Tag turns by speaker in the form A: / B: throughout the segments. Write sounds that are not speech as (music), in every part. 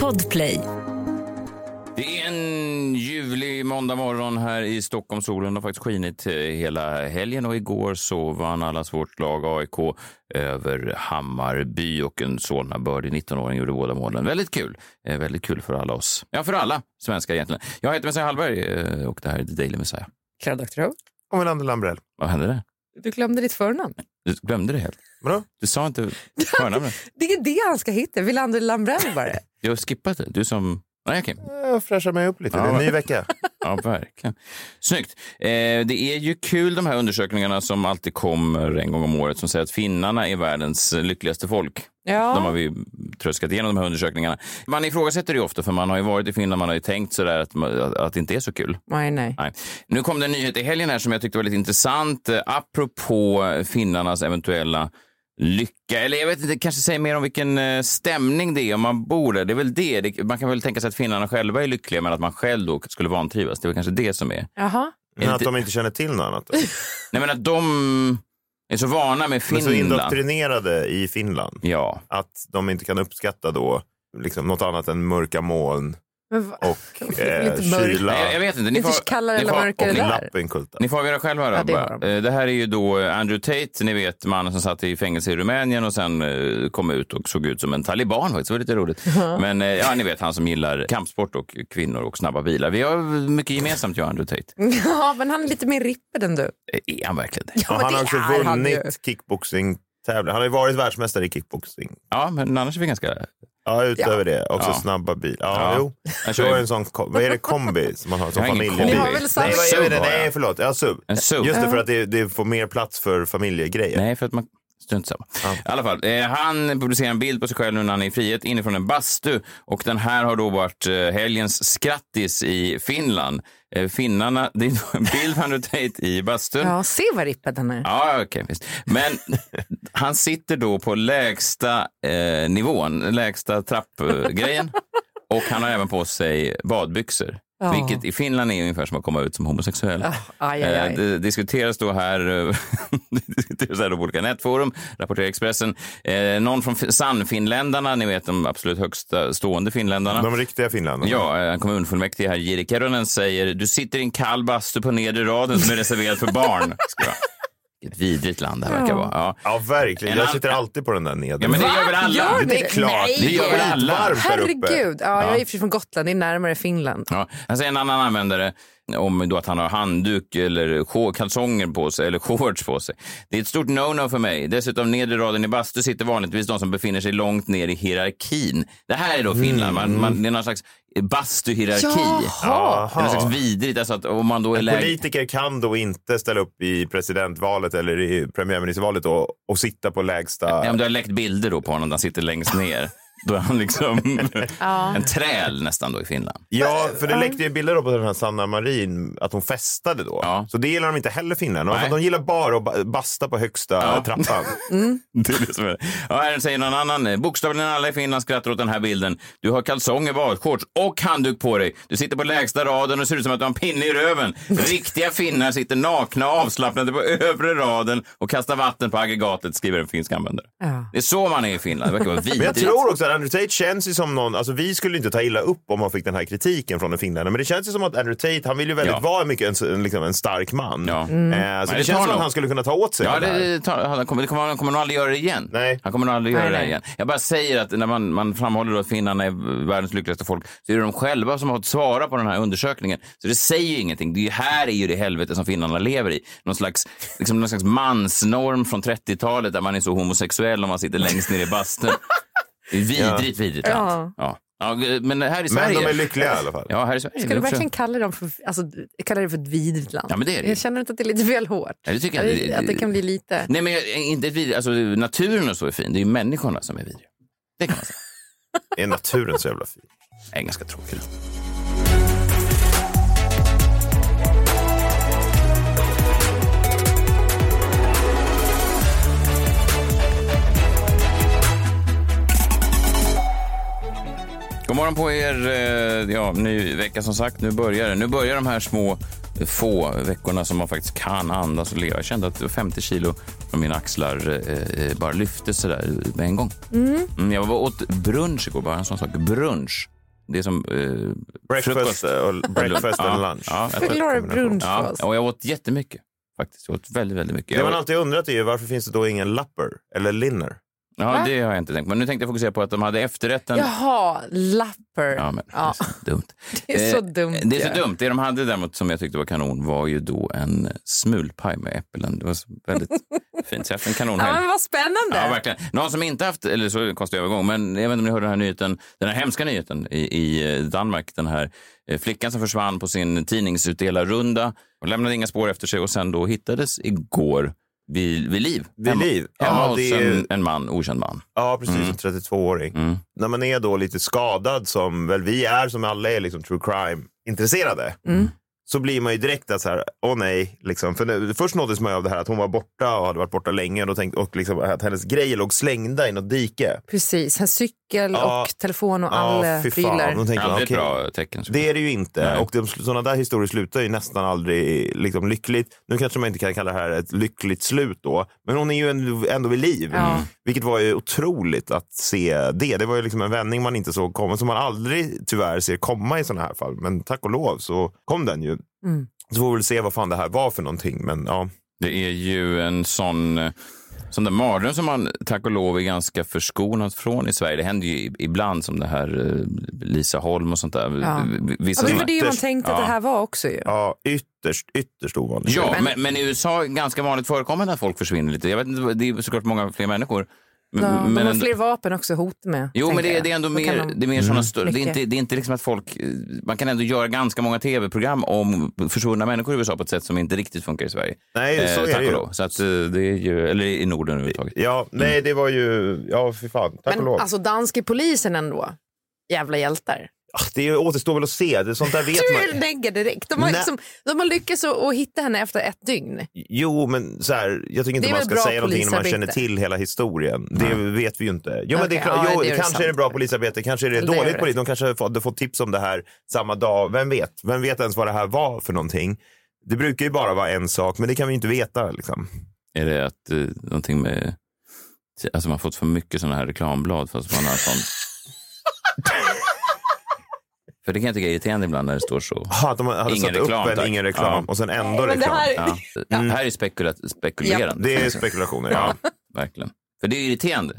A: Podplay.
B: Det är en ljuvlig måndag morgon här i Stockholm. Solen har faktiskt skinit eh, hela helgen och igår så vann allas vårt lag AIK över Hammarby och en Solnabördig 19-åring gjorde båda målen. Väldigt kul. Eh, väldigt kul för alla oss. Ja, för alla svenskar egentligen. Jag heter Messiah Hallberg eh, och det här är The Daily Messiah.
C: Clara Doktorow.
D: Och Melander Lambrell.
B: Vad hände där?
C: Du glömde ditt förnamn.
B: Du glömde det helt.
D: Vadå?
B: Du sa inte förnamnet.
C: Det är det han ska hitta. Wilander Lambrell var det.
B: Jag har skippat det. Du som... Nej, okej.
D: Jag fräschar mig upp lite.
B: Ja,
D: det är en
B: va?
D: ny vecka.
B: (laughs) Ja, verkligen. Snyggt. Eh, det är ju kul de här undersökningarna som alltid kommer en gång om året som säger att finnarna är världens lyckligaste folk.
C: (laughs) Ja.
B: De har vi tröskat igenom de här undersökningarna. Man ifrågasätter det ju ofta för man har ju varit i Finland, man har ju tänkt sådär att, man- att, att det inte är så kul.
C: Nej, nej.
B: Nej. Nu kom det en nyhet i helgen här som jag tyckte var lite intressant eh, apropå finnarnas eventuella lycka. Eller jag vet inte, det kanske säger mer om vilken eh, stämning det är om man bor där. Det är väl det. det. Man kan väl tänka sig att finnarna själva är lyckliga men att man själv då skulle vantrivas. Det är väl kanske det som är...
C: Jaha.
D: Men att
B: inte-
D: de inte känner till något annat.
B: Nej men att de är så vana med
D: De är så
B: Finland.
D: indoktrinerade i Finland
B: Ja,
D: att de inte kan uppskatta då liksom något annat än mörka moln
C: Men va- (laughs)
D: och eh,
C: Lite mörkt.
D: kyla
B: Nej, jag vet inte. Ni
C: Lite
B: får,
C: kallare
B: ni
C: eller
B: får,
C: mörkare
B: och
D: och
C: där.
D: lappenkulta.
B: Ni får avgöra själva. Då,
C: Ja, det
B: bara.
C: gör de.
B: Eh, det här är ju då Andrew Tate, ni vet mannen som satt i fängelse i Rumänien och sen eh, kom ut och såg ut som en taliban faktiskt. Det var lite roligt. Men eh, ja, ni vet han som gillar kampsport och kvinnor och snabba bilar. Vi har mycket gemensamt jag och Andrew Tate.
C: Ja, men han är lite mer ripper än du.
B: Eh, Är han alltså verkligen det?
D: Och
C: men
D: han
C: det
D: har också
C: är han ju.
D: vunnit kickboxing tävling. Han har ju varit världsmästare i kickboxing.
B: Ja, men annars är vi ganska...
D: Ja, utöver det. Också
B: Ja.
D: snabba bil. Ja,
B: Ja.
D: jo.
B: Jag
D: Du
B: kör
D: har
B: ju-
D: ju en sån, kom- vad är det, kombi som man har? Som
B: Jag har ingen
D: familjebil?
C: Ni har
B: kombi.
C: väl samma-
D: Nej, vad är
B: Sub
D: det?
B: har jag.
D: Nej, förlåt. Ja, sub.
B: En sub.
D: Just det, för att det, det får mer plats för familjegrejer.
B: Nej, för att man... Strunt samma. I alla fall, eh, han publicerar en bild på sig själv nu när han är i frihet inifrån en bastu och den här har då varit eh, helgens skrattis i Finland. Eh, finnarna, det är en bild på Andrew Tate i bastun.
C: Ja, se vad rippad han är.
B: Ja, okej. visst. Men han sitter då på lägsta eh, nivån, lägsta trappgrejen. och han har även på sig badbyxor.
C: Ja.
B: Vilket i Finland är ungefär som att komma ut som homosexuell.
C: Ah, Aj, aj,
B: Eh,
C: aj.
B: Det diskuteras då här, eh, (laughs) det diskuteras här då på olika nätforum, rapporterar Expressen. Eh, någon från Fi- Sannfinländarna, ni vet de absolut högsta stående finländarna.
D: De riktiga finländarna.
B: Ja, eh, kommunfullmäktige här, Jiri Kerunen, säger du sitter i en kall bastu på nedre raden som är reserverad för barn. Ska jag. Vilket vidrigt land det här verkar vara. Ja.
D: Ja, verkligen.
B: En
D: Jag
B: an-
D: sitter alltid på den där nedre.
B: Ja, men det gör väl alla?
C: Gör ni
D: Det är klart.
C: Nej.
B: Det gör väl alla?
D: Varmt där uppe.
C: Herregud. Ja, jag är i och för sig från Gotland, det är närmare Finland.
B: Ja. Här säger en annan användare om då att han har handduk eller shor- kalsonger på sig eller shorts på sig. Det är ett stort no-no för mig. Dessutom nedre raden i bastu sitter vanligtvis de som befinner sig långt ner i hierarkin. Det här är då Finland. Man, man, det är någon slags bastuhierarki.
C: Jaha.
B: Det är någon slags vidrigt. Alltså att om man då är lägre...
D: Politiker kan då inte ställa upp i presidentvalet eller i premiärministervalet och, och sitta på lägsta...
B: Ja, men du har läckt bilder då på honom där han sitter längst ner. Då är han (laughs) liksom en träl nästan då i Finland.
D: Ja, för det läckte ju bilder då på den här Sanna Marin, att hon festade då.
B: Ja.
D: Så det gillar de inte heller finnarna.
B: Nej.
D: De gillar bara att ba- basta på högsta
B: (laughs)
D: trappan.
B: Det är det som är. Ja, här säger någon annan. eh, Bokstavligen alla i Finland skrattar åt den här bilden. Du har kalsonger, badshorts och handduk på dig. Du sitter på lägsta raden och ser ut som att du har en pinne i röven. Riktiga finnar sitter nakna och avslappnade på övre raden och kastar vatten på aggregatet, skriver en finsk användare.
C: Ja.
B: Det är så man är i Finland. Det verkar vara
D: Men jag
B: vidrigt.
D: tror också att Andrew Tate känns ju som någon, alltså vi skulle inte ta illa upp om han fick den här kritiken från en finländare, men det känns ju som att Andrew Tate, han vill ju väldigt
B: Ja.
D: vara mycket en, en, liksom en stark man.
B: Ja.
D: Eh, så
B: det
D: det känns
B: tar
D: som att
B: nog.
D: han skulle kunna ta åt sig
B: Ja,
D: av det,
B: det,
D: här.
B: det, tar- han kommer, det kommer, han kommer nog aldrig göra det igen.
D: Nej.
B: Han kommer nog aldrig göra
C: Nej,
B: det
C: nej.
B: igen. Jag bara säger att när man, man framhåller då att finnarna är världens lyckligaste folk så är det de själva som har fått svara på den här undersökningen. Så det säger ju ingenting. Det är ju- här är ju det helvete som finnarna lever i. Någon slags, liksom, någon slags mansnorm från 30-talet där man är så homosexuell om man sitter längst ner i bastun. Det är vidrigt, vidrigt land. Ja. Ja, men här i
D: Men
B: Sverige...
D: de är lyckliga i alla fall.
B: Ja, här i Sverige. är
C: Ska
B: det
C: du
B: också-
C: verkligen kalla, dem för, alltså, kalla det för ett vidrigt land?
B: Ja, men det är det ju.
C: Jag känner inte att det är lite väl hårt.
B: Ja, det tycker jag inte.
C: Att det kan bli lite...
B: Nej, men jag- inte ett vidrigt. Alltså, naturen och så är fin. Det är ju människorna som är vidriga. Det kan man säga.
D: Är naturen så jävla fin?
B: Det är ganska tråkigt. God morgon på er. eh, Ja, ny vecka som sagt. Nu börjar det. Nu börjar de här små få veckorna som man faktiskt kan andas och leva. Jag kände att 50 kilo från mina axlar eh, eh, bara lyftes så där med en gång. Mm, jag var åt brunch igår, bara en sån sak. Brunch. Det är som eh,
D: Breakfast, och, breakfast and
B: Ja,
D: lunch.
B: ja, jag tror-
C: Förklarar brunch för
B: Ja,
C: oss.
B: och jag åt jättemycket. Faktiskt. Jag åt väldigt, väldigt mycket.
D: Det man
B: Jag-
D: alltid undrat är ju varför finns det då ingen lapper eller linner?
B: Ja,
C: Va?
B: det har jag inte tänkt. Men nu tänkte jag fokusera på att de hade efterrätten.
C: Jaha, lapper.
B: Ja, men
C: Ja.
B: Det är så dumt.
C: (laughs) Det är så
B: Eh,
C: dumt.
B: Det är
C: ju.
B: så dumt. Det de hade däremot som jag tyckte var kanon var ju då en smulpaj med äpplen. Det var så
C: (laughs)
B: väldigt fint. Så jag har haft en
C: Ja,
B: kanonhelg.
C: men vad spännande.
B: Ja, verkligen. Någon som inte haft, eller så är det en konstig övergång, men jag vet inte om ni hörde den här nyheten, den här hemska nyheten i, i Danmark. Den här eh, flickan som försvann på sin tidningsutdelarrunda och lämnade inga spår efter sig och sen då hittades igår vid, vid liv.
D: Vid liv?
B: Hemma
D: Ja,
B: hos
D: det är ju-
B: en, en man, okänd man.
D: Ja, precis. En 32-åring.
B: Mm.
D: När man är då lite skadad, som väl vi är som alla är liksom true crime-intresserade,
C: Mm.
D: så blir man ju direkt att så här, åh nej. Liksom. För nu, först nåddes man ju av det här att hon var borta och hade varit borta länge och, då tänkte, och liksom, att hennes grejer låg slängda i något dike.
C: Precis, en cykel
D: Ja.
C: och telefon och
D: Ja,
C: alla
D: fy
C: prylar.
D: fan. Då tänkte man,
B: Aldrig ett
D: okej.
B: bra tecken.
C: Typ.
D: Det är det ju inte.
B: Nej.
D: Och de, sådana där historier slutar ju nästan aldrig liksom, lyckligt. Nu kanske man inte kan kalla det här ett lyckligt slut då, men hon är ju ändå- ändå vid liv. Mm.
C: Ja.
D: Vilket var ju otroligt att se det. Det var ju liksom en vändning man inte såg komma, som man aldrig tyvärr ser komma i sådana här fall. Men tack och lov så kom den ju.
C: Mm.
D: Så får vi väl se vad fan det här var för någonting. Men ja,
B: Det är ju en sån, eh, sån där mardröm som man tack och lov är ganska förskonad från i Sverige. Det händer ju i- ibland som det här eh, Lisa Holm och sånt där.
C: Ja.
B: V-
C: Ja,
B: Vissa
C: men det var
B: såna-
C: det man
D: Ytterst-
C: tänkte att
B: ja.
C: det här var också ju.
D: ja ytterst, ytterst ovanligt.
B: Ja, men, men i USA är det ganska vanligt förekommande att folk försvinner lite. Jag vet inte, det är såklart många fler människor. Men,
C: Ja, de har
B: ändå-
C: fler vapen också, hot med.
B: Jo, men
C: tänker
B: det,
C: jag.
B: det är ändå
C: Då kan
B: mer,
C: de- Mm.
B: det är mer såna större. Det är
C: Mycket.
B: inte, det är inte liksom att folk... eh, Man kan ändå göra ganska många tv-program om försvunna människor i USA på ett sätt som inte riktigt funkar i Sverige.
D: Nej, så
B: Eh, tack
D: är det
B: och
D: ju.
B: lov. Mm. Så att, eh, det är ju. Eller i Norden överhuvudtaget.
D: Ja, nej, det var ju, ja fy fan, tack och
C: Men
D: lov.
C: alltså danske polisen ändå, jävla hjältar.
D: Ah, det återstår väl att se, det, sånt där vet
C: Du
D: man.
C: är negger direkt. De har,
D: Nej.
C: liksom, de har lyckats att, att hitta henne efter ett dygn.
D: Jo, men så här, jag tycker
C: Det
D: inte
C: är
D: man
C: väl
D: ska
C: bra
D: säga någonting när man
C: polisarbete.
D: känner till hela historien. Det vet vi ju inte. Jo, men det,
C: Okej,
D: är klart-
C: ja,
D: jo,
C: det är ju
D: kanske
C: sant.
D: är det bra polisarbete, kanske är det,
C: Det är
D: dåligt
C: rätt.
D: polis. De kanske hade fått- hade fått tips om det här samma dag. Vem vet? Vem vet ens vad det här var för någonting? Det brukar ju bara vara en sak, men det kan vi ju inte veta. Liksom.
B: Är det att eh, någonting med... Alltså man har fått för mycket såna här reklamblad fast man har
D: (laughs)
B: sånt... för det kan jag tycka är irriterande ibland när det står så.
D: Ah, att de hade
B: Ingen
D: satt
B: reklam,
D: upp en
B: tack.
D: ingen reklam
B: Ja.
D: och sen ändå
C: men det
D: reklam.
C: här-
B: Ja. Här är spekula- spekulerande.
D: Det är spekulationer. Ja,
B: Ja, verkligen. För det är irriterande.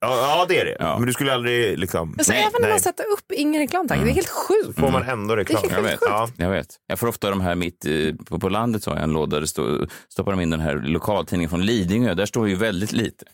D: ja, ja det är det.
B: Ja.
D: Men du skulle aldrig liksom...
C: Alltså,
B: Nej,
C: även om
D: nej. Mm.
C: man sätter upp ingen reklamtagg, det är helt sjukt.
D: Får man ändå reklam?
C: Det är
B: Jag vet.
D: Ja.
B: Jag vet. Jag får ofta de här mitt eh, på, på landet, så har jag en låda, där det står- stoppar de in den här lokaltidningen från Lidingö. Där står ju väldigt
D: (laughs)
B: lite.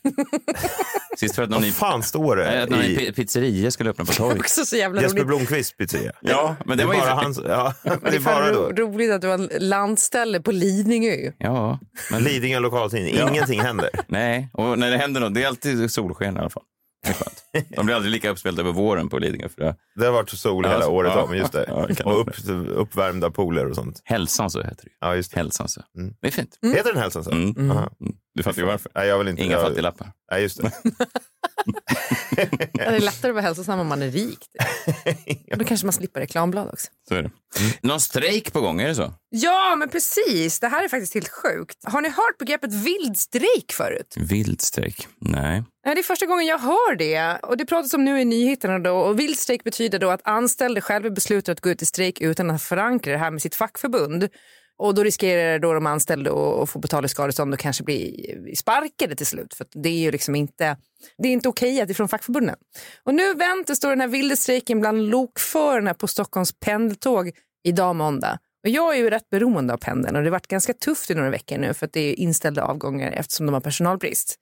B: Sist för att någon,
D: Vad
B: ny,
D: fan står
B: eh,
D: det
B: att någon ny
D: i
B: pi- pizzeria skulle öppna på torget.
D: (laughs)
C: Också så jävla
D: Jesper
C: roligt.
D: Blomqvists pizzeria?
B: Ja, men
D: det,
B: det
D: är
B: var ju-
D: bara hans...
B: (laughs)
D: Ja,
C: Men
D: det är bara då.
C: ro- roligt att du har en landställe på Lidingö. ju.
B: Ja, men
D: Lidingö lokaltidning. Ingenting händer.
B: Nej, och när det händer något, det är alltid solsken i alla fall. Det är skönt. De blir aldrig lika uppspelta över våren på Lidingö. För det.
D: Det har varit sol
B: Ja,
D: hela
B: så-
D: året
B: ja.
D: om. Just det.
B: Ja, det kan
D: och
B: vara.
D: upp, uppvärmda pooler och sånt.
B: Hälsan så heter det ju.
D: Ja, just det.
B: Hälsan så.
D: Mm.
B: Det är fint.
D: Heter den hälsan så?
B: Mm.
D: Aha.
B: Mm. Du fattar ju varför.
D: Nej, jag vill inte.
B: Inga
D: jag,
B: fattiglappar.
D: Nej, just det.
C: Det är lättare att vara hälsosam om man är rik.
D: (laughs)
C: Då kanske man slipper reklamblad också.
B: Så är det.
C: Mm.
B: Någon strejk på gång, är det så?
C: Ja, men precis. Det här är faktiskt helt sjukt. Har ni hört begreppet vild strejk förut?
B: Vild strejk? Nej.
C: Nej, Det är första gången jag hör det. Och Det pratas om nu i nyheterna. Då. Och vild strejk betyder då att anställda själva beslutar att gå ut i strejk utan att förankra det här med sitt fackförbund. Och Då riskerar då de anställda att- att få betala skadestånd och kanske bli sparkade till slut. För att Det är ju liksom inte, det är inte okej att det är från fackförbunden. Och Nu väntas då den här vilda strejken bland lokförarna på Stockholms pendeltåg idag måndag. Och jag är ju rätt beroende av pendeln och det har varit ganska tufft i några veckor nu för att det är inställda avgångar eftersom de har personalbrist.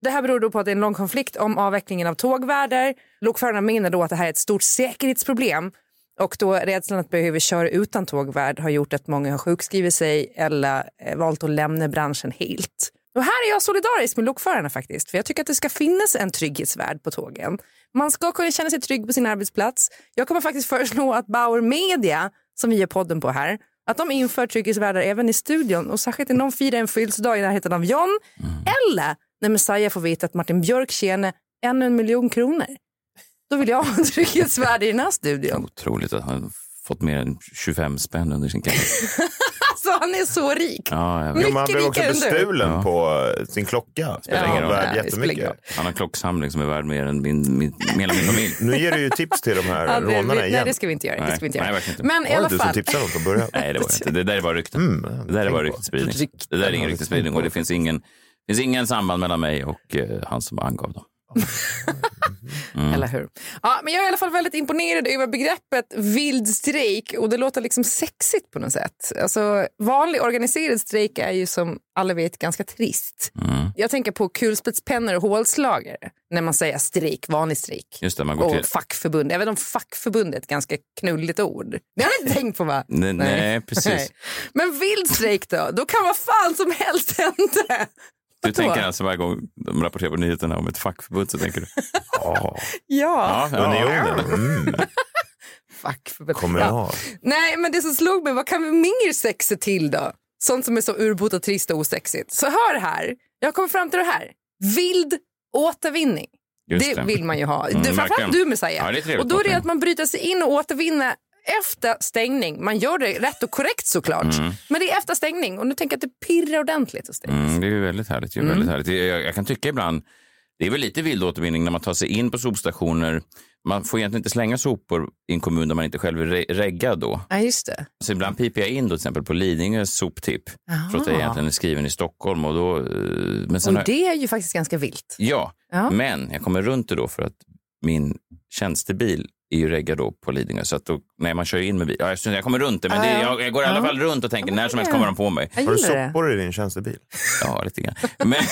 C: Det här beror då på att det är en lång konflikt om avvecklingen av tågvärdar. Lokförarna menar då att det här är ett stort säkerhetsproblem och då rädslan att behöva köra utan tågvärd har gjort att många har sjukskrivit sig eller eh, valt att lämna branschen helt. Och här är jag solidarisk med lokförarna faktiskt, för jag tycker att det ska finnas en trygghetsvärd på tågen. Man ska kunna känna sig trygg på sin arbetsplats. Jag kommer faktiskt föreslå att Bauer Media, som vi gör podden på här, att de inför trygghetsvärdar även i studion och särskilt när någon firar en födelsedag i närheten av John eller när Messiah får veta att Martin Björk tjänar ännu en miljon kronor. Då vill jag ha
B: (laughs)
C: en (laughs) trygghetsvärde i den här studion.
B: Otroligt att han fått mer än 25 spänn under sin karriär.
C: Alltså, han är så rik.
B: Ja, jag vet.
D: Jo, men han
C: Mycket
D: blev också
C: rikare än du.
D: bestulen
B: Ja.
D: på eh, sin klocka. Spelar
C: Ja,
D: ingen roll.
C: nej,
D: Värd
C: det spelar ingen
D: jättemycket.
B: Han har klocksamling som är värd mer än min, min, hela min familj.
D: Nu ger du ju tips till de
C: (laughs)
D: här
C: Ja, det, vi,
D: rånarna
C: nej,
D: igen.
C: det ska vi inte göra. (laughs) det
B: Nej,
C: ska vi inte göra.
B: nej, verkligen inte.
C: Men i
D: Var
C: alla
D: det du som
C: fall.
D: tipsade dem från början?
B: Nej, det var det inte. Det där är bara rykten.
D: Mm,
B: det där är bara
D: tänk på.
B: ryktesspridning. Det där är ingen
C: liksom
B: ryktesspridning och det finns ingen, finns ingen samband mellan mig och eh, han som angav dem.
C: Eller hur? Ja, men jag är i alla fall väldigt imponerad över begreppet vild strejk och det låter liksom sexigt på något sätt. Alltså, vanlig organiserad strejk är ju som alla vet ganska trist. Jag tänker på kulspetspennor och hålslagare när man säger strejk, vanlig strejk.
B: Just det, man går till...
C: Och fackförbund. Jag vet om fackförbund är ett ganska knulligt ord. Det har ni inte tänkt på va?
B: Nej, nej, Mm, precis.
C: (laughs) Nej. Men vild strejk då? Då kan vad fan som helst hända.
B: Du tänker alltså varje gång de rapporterar på nyheterna om ett fackförbund så
C: (laughs)
B: tänker du...
D: Ja,
C: Ja,
B: Ja, ja.
D: Unionen. Mm,
C: fackförbund. Ja.
D: kommunal.
C: Nej, men det som slog mig, vad kan vi mer sexigt till då? Sånt som är så urbota trist och osexigt. Så hör här, jag kommer fram till det här. Vild återvinning.
B: Just
C: det, vill man ju ha.
B: Mm,
C: Du, framförallt
B: verkligen.
C: du Messiah.
B: Ja, det är trevligt,
C: och då är det
B: verkligen.
C: att man bryter sig in och återvinner efter stängning. Man gör det rätt och korrekt såklart.
D: Mm.
C: Men det är efter stängning och nu tänker jag att det pirrar ordentligt hos dig.
B: Mm, det är ju väldigt härligt. Det är ju väldigt härligt. Det är- Jag, jag kan tycka ibland, det är väl lite vild återvinning när man tar sig in på sopstationer. Man får egentligen inte slänga sopor i en kommun där man inte själv är re- reggad då.
C: Ja, just det.
B: Så ibland piper jag in då till exempel på Lidingö soptipp. Trots att jag egentligen är skriven i Stockholm. Och då, eh, men sen
C: Och
B: har-
C: det är ju faktiskt ganska vilt.
B: Ja,
C: Ja.
B: men jag kommer runt det då för att min tjänstebil är ju reggad då på Lidingö. Så att då, nej, man kör ju in med bil. Ja, jag syns- jag kommer runt det, men
C: Ja,
B: det,
C: ja.
B: jag, jag går i alla fall runt och tänker när som helst kommer de på mig.
C: Jag
D: Har du
C: gillar det.
D: sopor i din tjänstebil?
B: Ja, lite grann. Men, (laughs)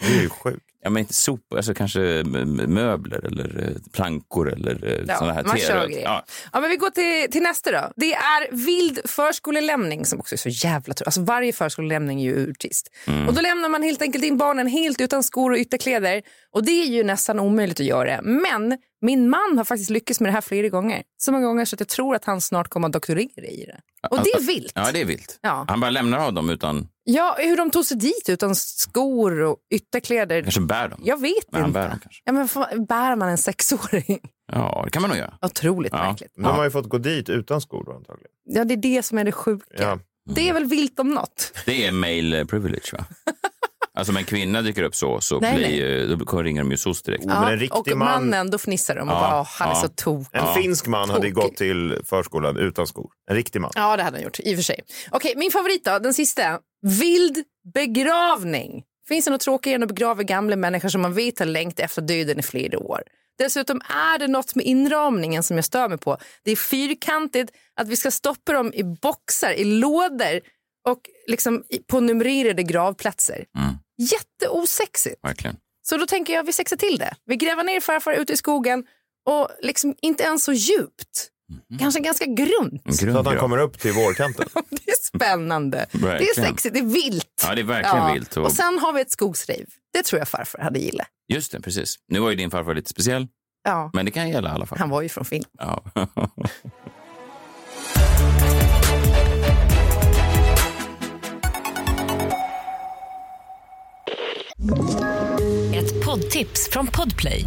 D: Det är ju sjukt.
B: ja, men inte sopor, alltså kanske m- möbler eller eh, plankor eller
C: Ja,
B: ja, sådana här
C: man kör
B: teröd.
C: grejer.
B: Ja,
C: Ja, men vi går till, till nästa då. Det är vild förskolelämning som också är så jävla tur. Alltså varje förskolelämning är ju urtrist.
B: Mm.
C: Och då lämnar man helt enkelt in barnen helt utan skor och ytterkläder. Och det är ju nästan omöjligt att göra. Men min man har faktiskt lyckats med det här flera gånger. Så många gånger så att jag tror att han snart kommer att doktorera i det. Och det är vilt.
B: ja, det är vilt.
C: Ja.
B: Han bara lämnar av dem utan,
C: Ja, hur de tog sig dit utan skor och ytterkläder.
B: kanske bär dem.
C: Jag vet
B: Men han
C: inte.
B: bär dem kanske.
C: Ja, men fan, bär man en sexåring? (laughs)
B: Ja, det kan man nog göra.
C: Otroligt
B: Ja.
C: märkligt.
D: De har ju fått gå dit utan skor då antagligen.
C: Ja, det är det som är det sjuka.
D: Ja.
C: Det är väl vilt om något.
B: Det är male privilege, va? Alltså om en kvinna dyker upp så, så
C: Nej,
B: blir, nej. Då ringer de ju soc direkt.
D: men en riktig
C: och
D: man-
C: mannen, då fnissar de och
B: Ja,
C: bara, "Åh, han är
B: ja.
C: så tokig.
D: En finsk man hade ju
C: Tokig.
D: gått till förskolan utan skor. En riktig man.
C: Ja, det hade han gjort, i och för sig. Okej, min favorit då, den sista. Vild begravning. Finns det något tråkigare än att begrava gamla människor som man vet har längt efter döden i flera år? Dessutom är det något med inramningen som jag stör mig på. Det är fyrkantigt, att vi ska stoppa dem i boxar, i lådor och liksom i- på numrerade gravplatser.
B: Mm.
C: Jätteosexigt.
B: Verkligen.
C: Så då tänker jag vi sexar till det. Vi gräver ner farfar ute i skogen och liksom inte ens så djupt.
B: Mhm.
C: Kanske ganska grunt.
B: En
D: Så att han
B: grav.
D: kommer upp
B: (laughs)
D: till vårkanten.
C: (laughs) Det är spännande. Det är
B: Verkligen.
C: sexigt, det är vilt.
B: Ja, det är verkligen
C: Ja.
B: vilt. Och,
C: Och sen har vi ett skogsrejv. Det tror jag farfar hade gillat.
B: Just det, precis. Nu var ju din farfar lite speciell,
C: Ja.
B: men det kan gälla alla farfar.
C: Han var ju från Finland.
B: Ja. (laughs)
A: Ett poddtips från Podplay.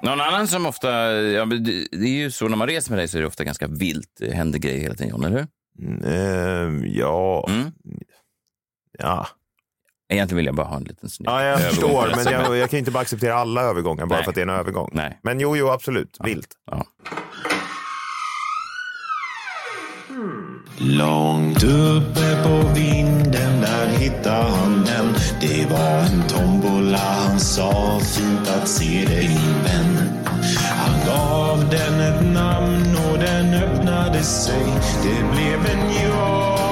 B: Någon annan som ofta... Ja, men det det är ju så när man reser med dig så är det ofta ganska vilt. Det händer grejer hela tiden, John, eller hur?
D: Mm, ehm, ja.
B: Mm.
D: ja.
B: Egentligen vill jag bara ha en liten snygg
D: Ja, jag
B: övergång
D: förstår.
B: till det, (laughs)
D: Men jag, jag kan ju inte bara acceptera alla övergångar bara
B: Nej.
D: för att det är en övergång.
B: Nej.
D: Men jo, jo, absolut. Vilt.
B: Ja.
E: Långt uppe på vinden där hittade han den Det var en tombola, han sa fint att se dig min vän Han gav den ett namn och den öppnade sig Det blev en jag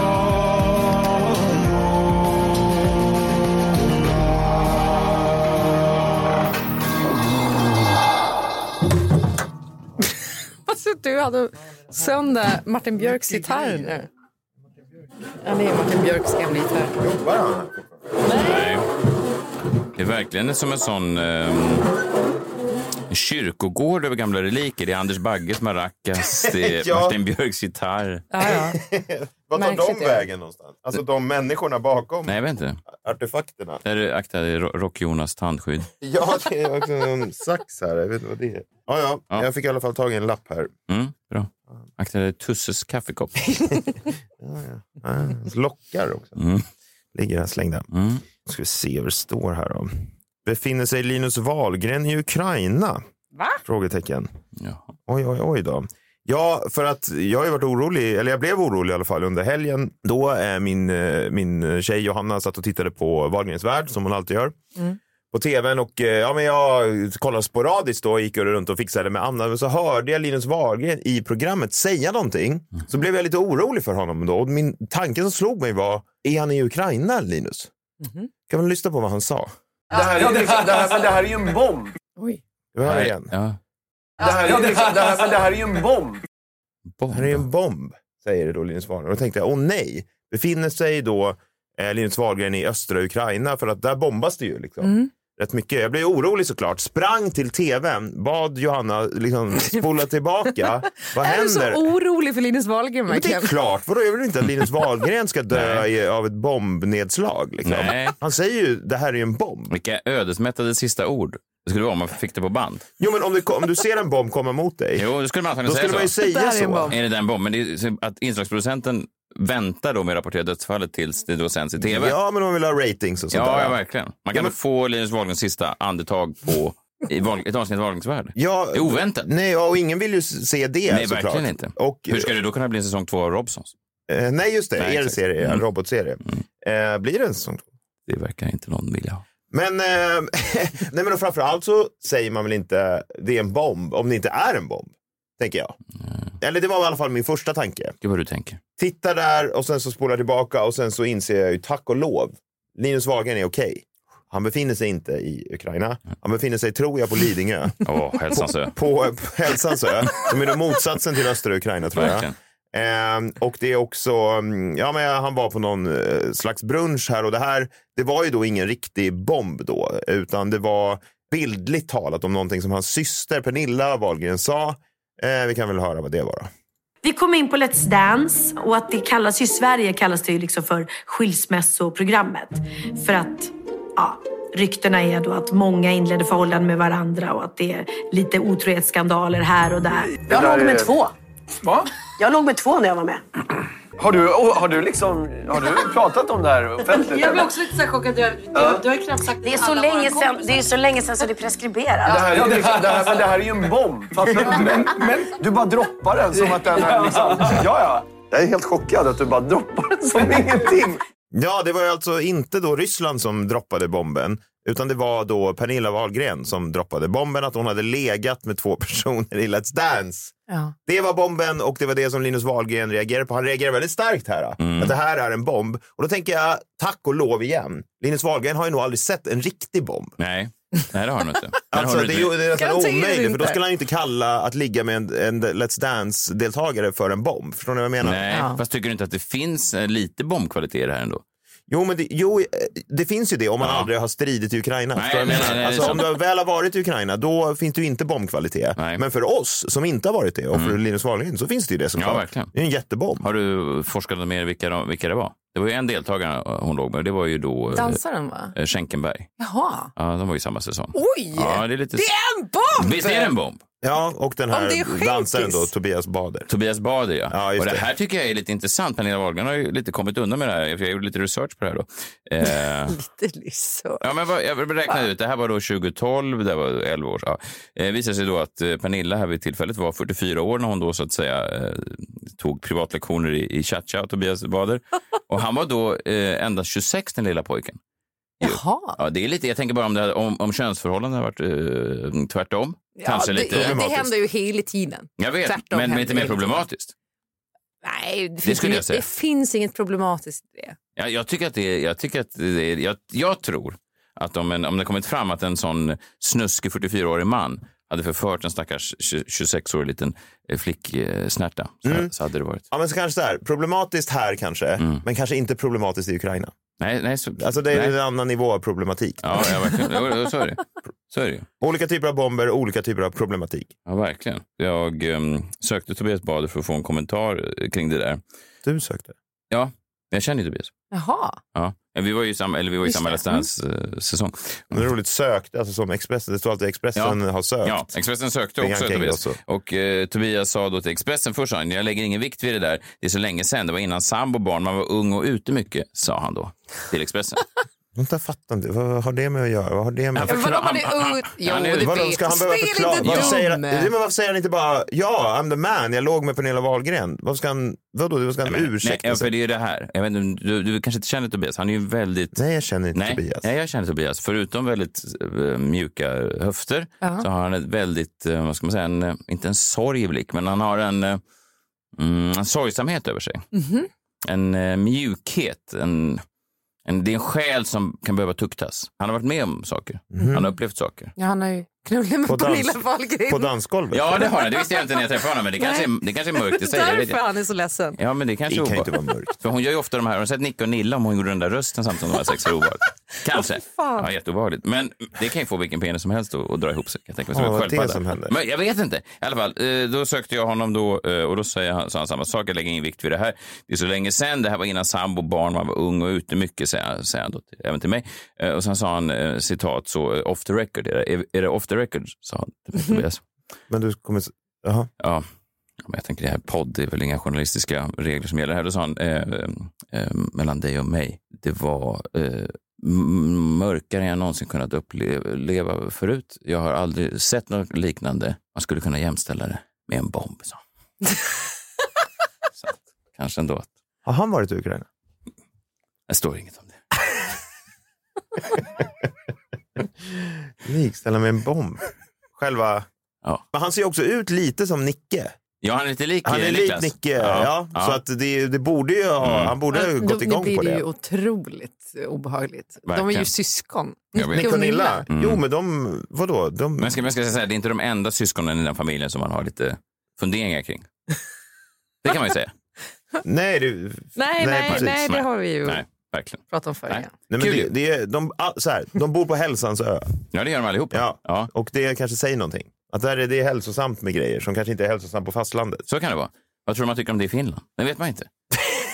C: (laughs) Alltså, du hade Söndag, Martin Björks gitarr nu. Ja, det är Martin Björks gamla gitarr.
D: Jobbar han?
B: Nej. Det är verkligen som en sån ehm, kyrkogård över gamla reliker. Det är Anders
F: (laughs)
B: Bagges maracas, det är
D: Ja.
B: Martin Björks gitarr.
C: Ja, ja.
D: Vad tar
C: Märkligt,
D: de
C: ja.
D: vägen någonstans? Alltså de människorna bakom
B: Nej, jag vet inte.
D: artefakterna.
B: Där är- akta dig, Ro- Rock-Jonas tandskydd.
D: Ja, det är också en sax här. Jag vet inte vad det är. Ja, ja,
B: Ja.
D: Jag fick i alla fall tag i en lapp här.
B: Mm, bra. Akta dig, Tusses kaffekopp.
D: Ja, ja. Ah, lockar också.
B: Mm,
D: Ligger här slängda.
B: mm.
D: Nu ska vi se vad det står här om. Befinner sig Linus Wahlgren i Ukraina?
C: Va?
D: Frågetecken.
B: Ja.
D: Oj, oj, oj då. Ja, för att jag har ju varit orolig, eller jag blev orolig i alla fall under helgen. Då är min, eh, min tjej Johanna satt och tittade på Wahlgrens värld, som hon alltid gör. På tvn och eh, ja, men jag kollade sporadiskt då, gick runt och fixade med Anna. Men så hörde jag Linus Wahlgren i programmet säga någonting. Så blev jag lite orolig för honom då. Och min tanke som slog mig var, är han i Ukraina Linus? Kan man lyssna på vad han sa?
F: Det här är, liksom, det här, men det här är ju en bomb.
C: (laughs) Oj.
D: Vi hör
B: Nej,
D: igen.
B: Ja.
F: Det här är, liksom, det här, men det här är ju en bomb.
B: Bomb.
D: här är en bomb, säger då Linus Wahlgren. Och då tänkte jag, åh nej, befinner sig då eh, Linus Wahlgren i östra Ukraina? För att där bombas det ju liksom.
C: Mm.
D: Rätt mycket. Jag blev orolig såklart. Sprang till tvn, bad Johanna liksom
C: (laughs)
D: spola tillbaka. Vad
C: Är du
D: händer?
C: så orolig för Linus Wahlgren
D: Men det
C: verkligen?
D: är klart, vadå? Jag vill inte
C: (laughs)
D: att Linus Wahlgren ska dö i, av ett bombnedslag. Liksom.
B: Nej.
D: Han säger ju, det här är ju en bomb.
B: Vilka ödesmättade sista ord det skulle vara om man fick det på band.
D: Jo men om du, om du ser en bomb komma mot dig,
B: Jo, det skulle man
D: då
B: antagligen
D: skulle man
B: säga
D: ju
B: så.
C: Det
D: säga
C: här är en
D: så.
C: bomb.
B: Är det den bomben? Det är så att inslagsproducenten väntar då med att rapportera dödsfallet tills det då sänds i tv.
D: Ja, men om man vill ha ratings och sånt
B: Ja,
D: där.
B: ja, verkligen. Man kan
D: Ja, men-
B: få Linus Wahlgrens sista andetag på i val, ett avsnitt av Wahlgrens värld.
D: Ja,
B: Det är oväntat.
D: Nej, och ingen vill ju se det
B: Nej,
D: såklart.
B: verkligen inte.
D: Och,
B: Hur ska det då kunna bli en säsong två av Robsons?
D: eh, nej, just det.
B: Nej,
D: er
B: exakt.
D: serie, en
B: Mm.
D: robotserie. Eh, blir det en säsong två?
B: Det verkar inte någon vilja ha.
D: Men, eh, (laughs) nej, men och framförallt så säger man väl inte det är en bomb om det inte är en bomb, tänker jag.
B: Mm.
D: Eller det var i alla fall min första tanke.
B: Det är vad du tänker.
D: Titta där och sen så spolar jag tillbaka och sen så inser jag ju tack och lov, Linus Wahlgren är okej. Han befinner sig inte i Ukraina.
B: Mm.
D: Han befinner sig, tror jag, på Lidingö.
B: Åh,
D: (laughs)
B: hälsans ö.
D: på, på Hälsans ö, som är då motsatsen till östra Ukraina tror jag.
B: Verkligen.
D: Ehm, och det är också, mm, ja men han var på någon eh, slags brunch här och det här, det var ju då ingen riktig bomb då, utan det var bildligt talat om någonting som hans syster Pernilla Wahlgren sa. Eh, vi kan väl höra vad det var då.
G: Vi kom in på Let's Dance och att det kallas i Sverige kallas det ju liksom för skilsmässoprogrammet. För att ja, ryktena är då att många inledde förhållanden med varandra och att det är lite otrohetsskandaler här och där.
F: Jag låg med
G: två.
F: Va?
G: Jag låg med två när jag var med.
F: Har du, oh, har du liksom, har du pratat om det här offentligt? eller?
H: också lite så här chockad. Du, har- du, du har ju knappt sagt
G: Det är så länge sedan, det är så länge sedan så det är preskriberat.
F: Det här, är liksom, det, här, men det här är ju en bomb. Fattar du? inte? (laughs) Men, men du bara droppar den som att den är liksom... Ja, ja. Jag är helt chockad att du bara droppar den som ingenting.
D: (laughs) Ja, det var ju alltså inte då Ryssland som droppade bomben, utan det var då Pernilla Wahlgren som droppade bomben, att hon hade legat med två (laughs) personer i Let's Dance.
C: Ja.
D: Det var bomben och det var det som Linus Wahlgren reagerade på. Han reagerar väldigt starkt här.
B: Mm.
D: Att det här är en bomb. Och då tänker jag, tack och lov igen. Linus Wahlgren har ju nog aldrig sett en riktig bomb.
B: Nej. Nej, det har han inte. Där
D: Alltså,
B: har
D: det,
B: du
D: är
B: inte.
D: ju det är nästan
C: Garanterat
D: omöjligt, för då
C: inte.
D: skulle han ju inte kalla att ligga med en, en Let's Dance-deltagare för en bomb. Förstår ni vad jag menar?
B: Nej,
C: Ja.
B: fast tycker du inte att det finns eh, lite bombkvalitet i det här ändå?
D: Jo, men det, jo, eh, det finns ju det om man
B: Ja.
D: aldrig har stridit i Ukraina.
B: Nej, eh,
D: förstår du vad
B: nej, nej,
D: jag menar?
B: nej, det
D: alltså,
B: är
D: om
B: sant.
D: du väl har varit i Ukraina, då finns det ju inte bombkvalitet.
B: Nej. Mm.
D: Men för oss som inte har varit det, och för Linus Wahlgren, så finns det ju det såklart.
B: Ja, verkligen.
D: Det är en jättebomb.
B: Har du forskat något mer vilka, de- vilka det var? Det var ju en deltagare hon låg med. Det var ju då eh,
C: Dansaren va?
B: eh, Schenkenberg.
C: Jaha.
B: Ja, de var ju i samma säsong.
C: Oj!
B: Ja, det är lite...
C: Det är en bomb!
B: Visst är det en bomb?
D: Ja, och den
C: Om det är
D: här
C: skänkis.
D: dansaren då, Tobias Bader.
B: Tobias Bader, ja.
D: Ja, just
B: och det
D: det.
B: här tycker jag är lite intressant. Pernilla Wahlgren har ju lite kommit undan med det här. för Jag gjorde lite research på det här då.
C: (laughs)
B: Eh,
C: Lite lyssor.
B: ja, men vad, jag räknade ut, det här var då 2012, det här var 11 år ja. eh, visade sig då att eh, Pernilla här vid tillfället var 44 år när hon då så att säga eh, tog privatlektioner i, i cha-cha av Tobias
C: (laughs)
B: Bader. Och han var då eh, endast 26, den lilla pojken.
C: Jaha.
B: Ja, det är lite, jag tänker bara om, det här, om, om könsförhållanden hade varit eh, tvärtom. Kanske
C: ja,
B: lite...
C: det, det händer ju hela tiden.
B: Jag vet,
C: tvärtom
B: men
C: händer
B: lite
C: det
B: mer
C: hela tiden.
B: problematiskt.
C: Nej, det, finns
B: skulle jag
C: inget,
B: säga.
C: det finns inget problematiskt i det.
B: Jag, jag tycker att det är, jag tycker att det är, jag, jag tror att om, en, om det kommit fram att en sån snuskig 44-årig man hade förfört en stackars 26-årig liten eh, flicksnärta så,
D: Mm.
B: så hade det varit.
D: Ja, men så kanske så här, problematiskt här kanske, men kanske inte problematiskt i Ukraina.
B: Nej, nej, så,
D: Alltså det är
B: Mm. nej.
D: en annan nivå av problematik.
B: Ja, ja, verkligen. Jo, jo, så är det. Så är det ju.
D: Olika typer av bomber, olika typer av problematik.
B: Ja, verkligen. Jag ehm, sökte Tobias Bader för att få en kommentar eh, kring det där.
D: Du sökte.
B: Ja, jag känner ju Tobias.
C: Jaha.
B: Ja. Ja, Vi var ju i samma, eller vi var i
C: Just
B: samma eh,
C: det. Mm.
B: Let's Dance-säsong.
D: Men det är roligt, sökte, alltså som Expressen, det står alltid Expressen har sökt.
B: Ja, Expressen sökte
D: Ringan
B: också
D: King
B: Tobias.
D: också.
B: Och eh, Tobias sa då till Expressen först, sa han, jag lägger ingen vikt vid det där. Det är så länge sedan, det var innan sambo och barn, man var ung och ute mycket, sa han då till Expressen.
D: Vänta, jag fattar inte. Vad har det med att göra? Vad har det med
C: Men vadå, man är ung? Jo,
B: Han är-
C: det
D: Vadå,
C: vet.
D: ska han behöva
C: Spel
D: förklara?
C: inte
D: Varför
C: dum.
D: säger, han, nej, men varför säger han inte bara ja, I'm the man, jag låg med Pernilla Wahlgren? Varför ska han, vadå, varför ska han (laughs) ursäkta
B: Nej, för
D: sig?
B: det är ju det här. Jag vet, inte, du, du kanske inte känner Tobias, han är ju väldigt...
D: Nej, jag känner inte Tobias.
B: Nej, jag känner Tobias. Förutom väldigt eh, mjuka höfter så har han ett väldigt, eh, vad ska man säga, en, eh, inte en sorg i blick, men han har en, eh, mm, en sorgsamhet över sig. En eh, mjukhet. En, en, det är en själ som kan behöva tuktas. Han har varit med om saker.
D: Mhm.
B: Han har upplevt saker.
C: Ja, han har ju knullat
D: På
C: med
D: dans-
C: Pernilla
D: På
C: Wahlgren.
D: dansgolvet?
B: Ja, det har han. Det visste jag inte när jag träffade honom, men det kanske, är, det kanske är mörkt i sig. Jag vet
C: Därför
B: inte.
C: han är så ledsen.
B: Ja, men det
D: det
B: kanske
D: kan
B: är
D: ju inte
B: ovan.
D: vara mörkt.
B: För hon gör ju ofta de här, har du sett Nicke och Nilla om hon gjorde den där rösten samtidigt som de var sex år
D: (laughs)
B: obehagligt? Kanske.
C: fan.
B: Ja, jätteobehagligt. Men det kan ju få vilken penis som helst att att dra ihop sig. Kan jag tänka mig, som
D: Ja,
B: en
D: vad det är
B: sköldpadda.
D: som händer.
B: Men jag vet inte. I alla fall, eh, då sökte jag honom då eh, och då säger han, sa han samma sak. Jag lägger ingen vikt vid det här. Det är så länge sedan. Det här var innan sambo, barn, man var ung och ute mycket, säger han, säger han då, till- även till mig. Eh, Och sen sa han, eh, citat, så eh, off the record. Är det, är, är det off the record? sa han till
D: (laughs)
B: mig, Tobias.
D: Men du kommer... Jaha.
B: Ja, Ja, men jag tänker det här podd, det är väl inga journalistiska regler som gäller här. Då sa han, eh, eh, mellan dig och mig, det var eh, m- mörkare än jag någonsin kunnat uppleva förut. Jag har aldrig sett något liknande. Man skulle kunna jämställa det med en bomb, sa han.
D: (laughs)
B: Så att, Kanske ändå att,
D: Har han varit i Ukraina?
B: det står inget om det.
D: Likställa med en bomb. Själva...
B: Ja.
D: Men han ser ju också ut lite som Nicke.
B: Ja, han är lite lik eh,
D: Han är lik
B: Niklas. Mm.
D: Nicke, ja. Så att det, det borde ju ha, han borde ha
C: Men
D: gått
C: då-
D: igång
C: blir
D: på
C: Det
D: det.
C: ju otroligt obehagligt. De är
B: Verkligen.
C: ju syskon.
B: Jag vet.
C: Nicke
D: Nicke och Nilla.
C: Nilla.
D: Jo, men de, vadå? De,
B: Mm. Men ska, men ska jag säga, det är inte de enda syskonen i den familjen som man har lite funderingar kring. Det kan man ju
D: (laughs)
B: säga.
D: nej, det,
C: Nej, nej,
D: precis.
C: nej, det
B: Nej.
C: har vi ju
B: Nej, verkligen.
C: pratat om förr.
B: Nej.
C: ja.
D: Nej, men
B: Kul
D: det,
B: ju.
D: det är, de, all- så här, de bor på hälsans ö
B: Ja, det gör de allihopa.
D: Ja.
B: Ja,
D: och det kanske säger någonting. Att där är det är hälsosamt med grejer som kanske inte är hälsosamt på fastlandet.
B: så kan det vara. Vad tror du man tycker om det i Finland? Det vet man
D: (laughs)
B: inte.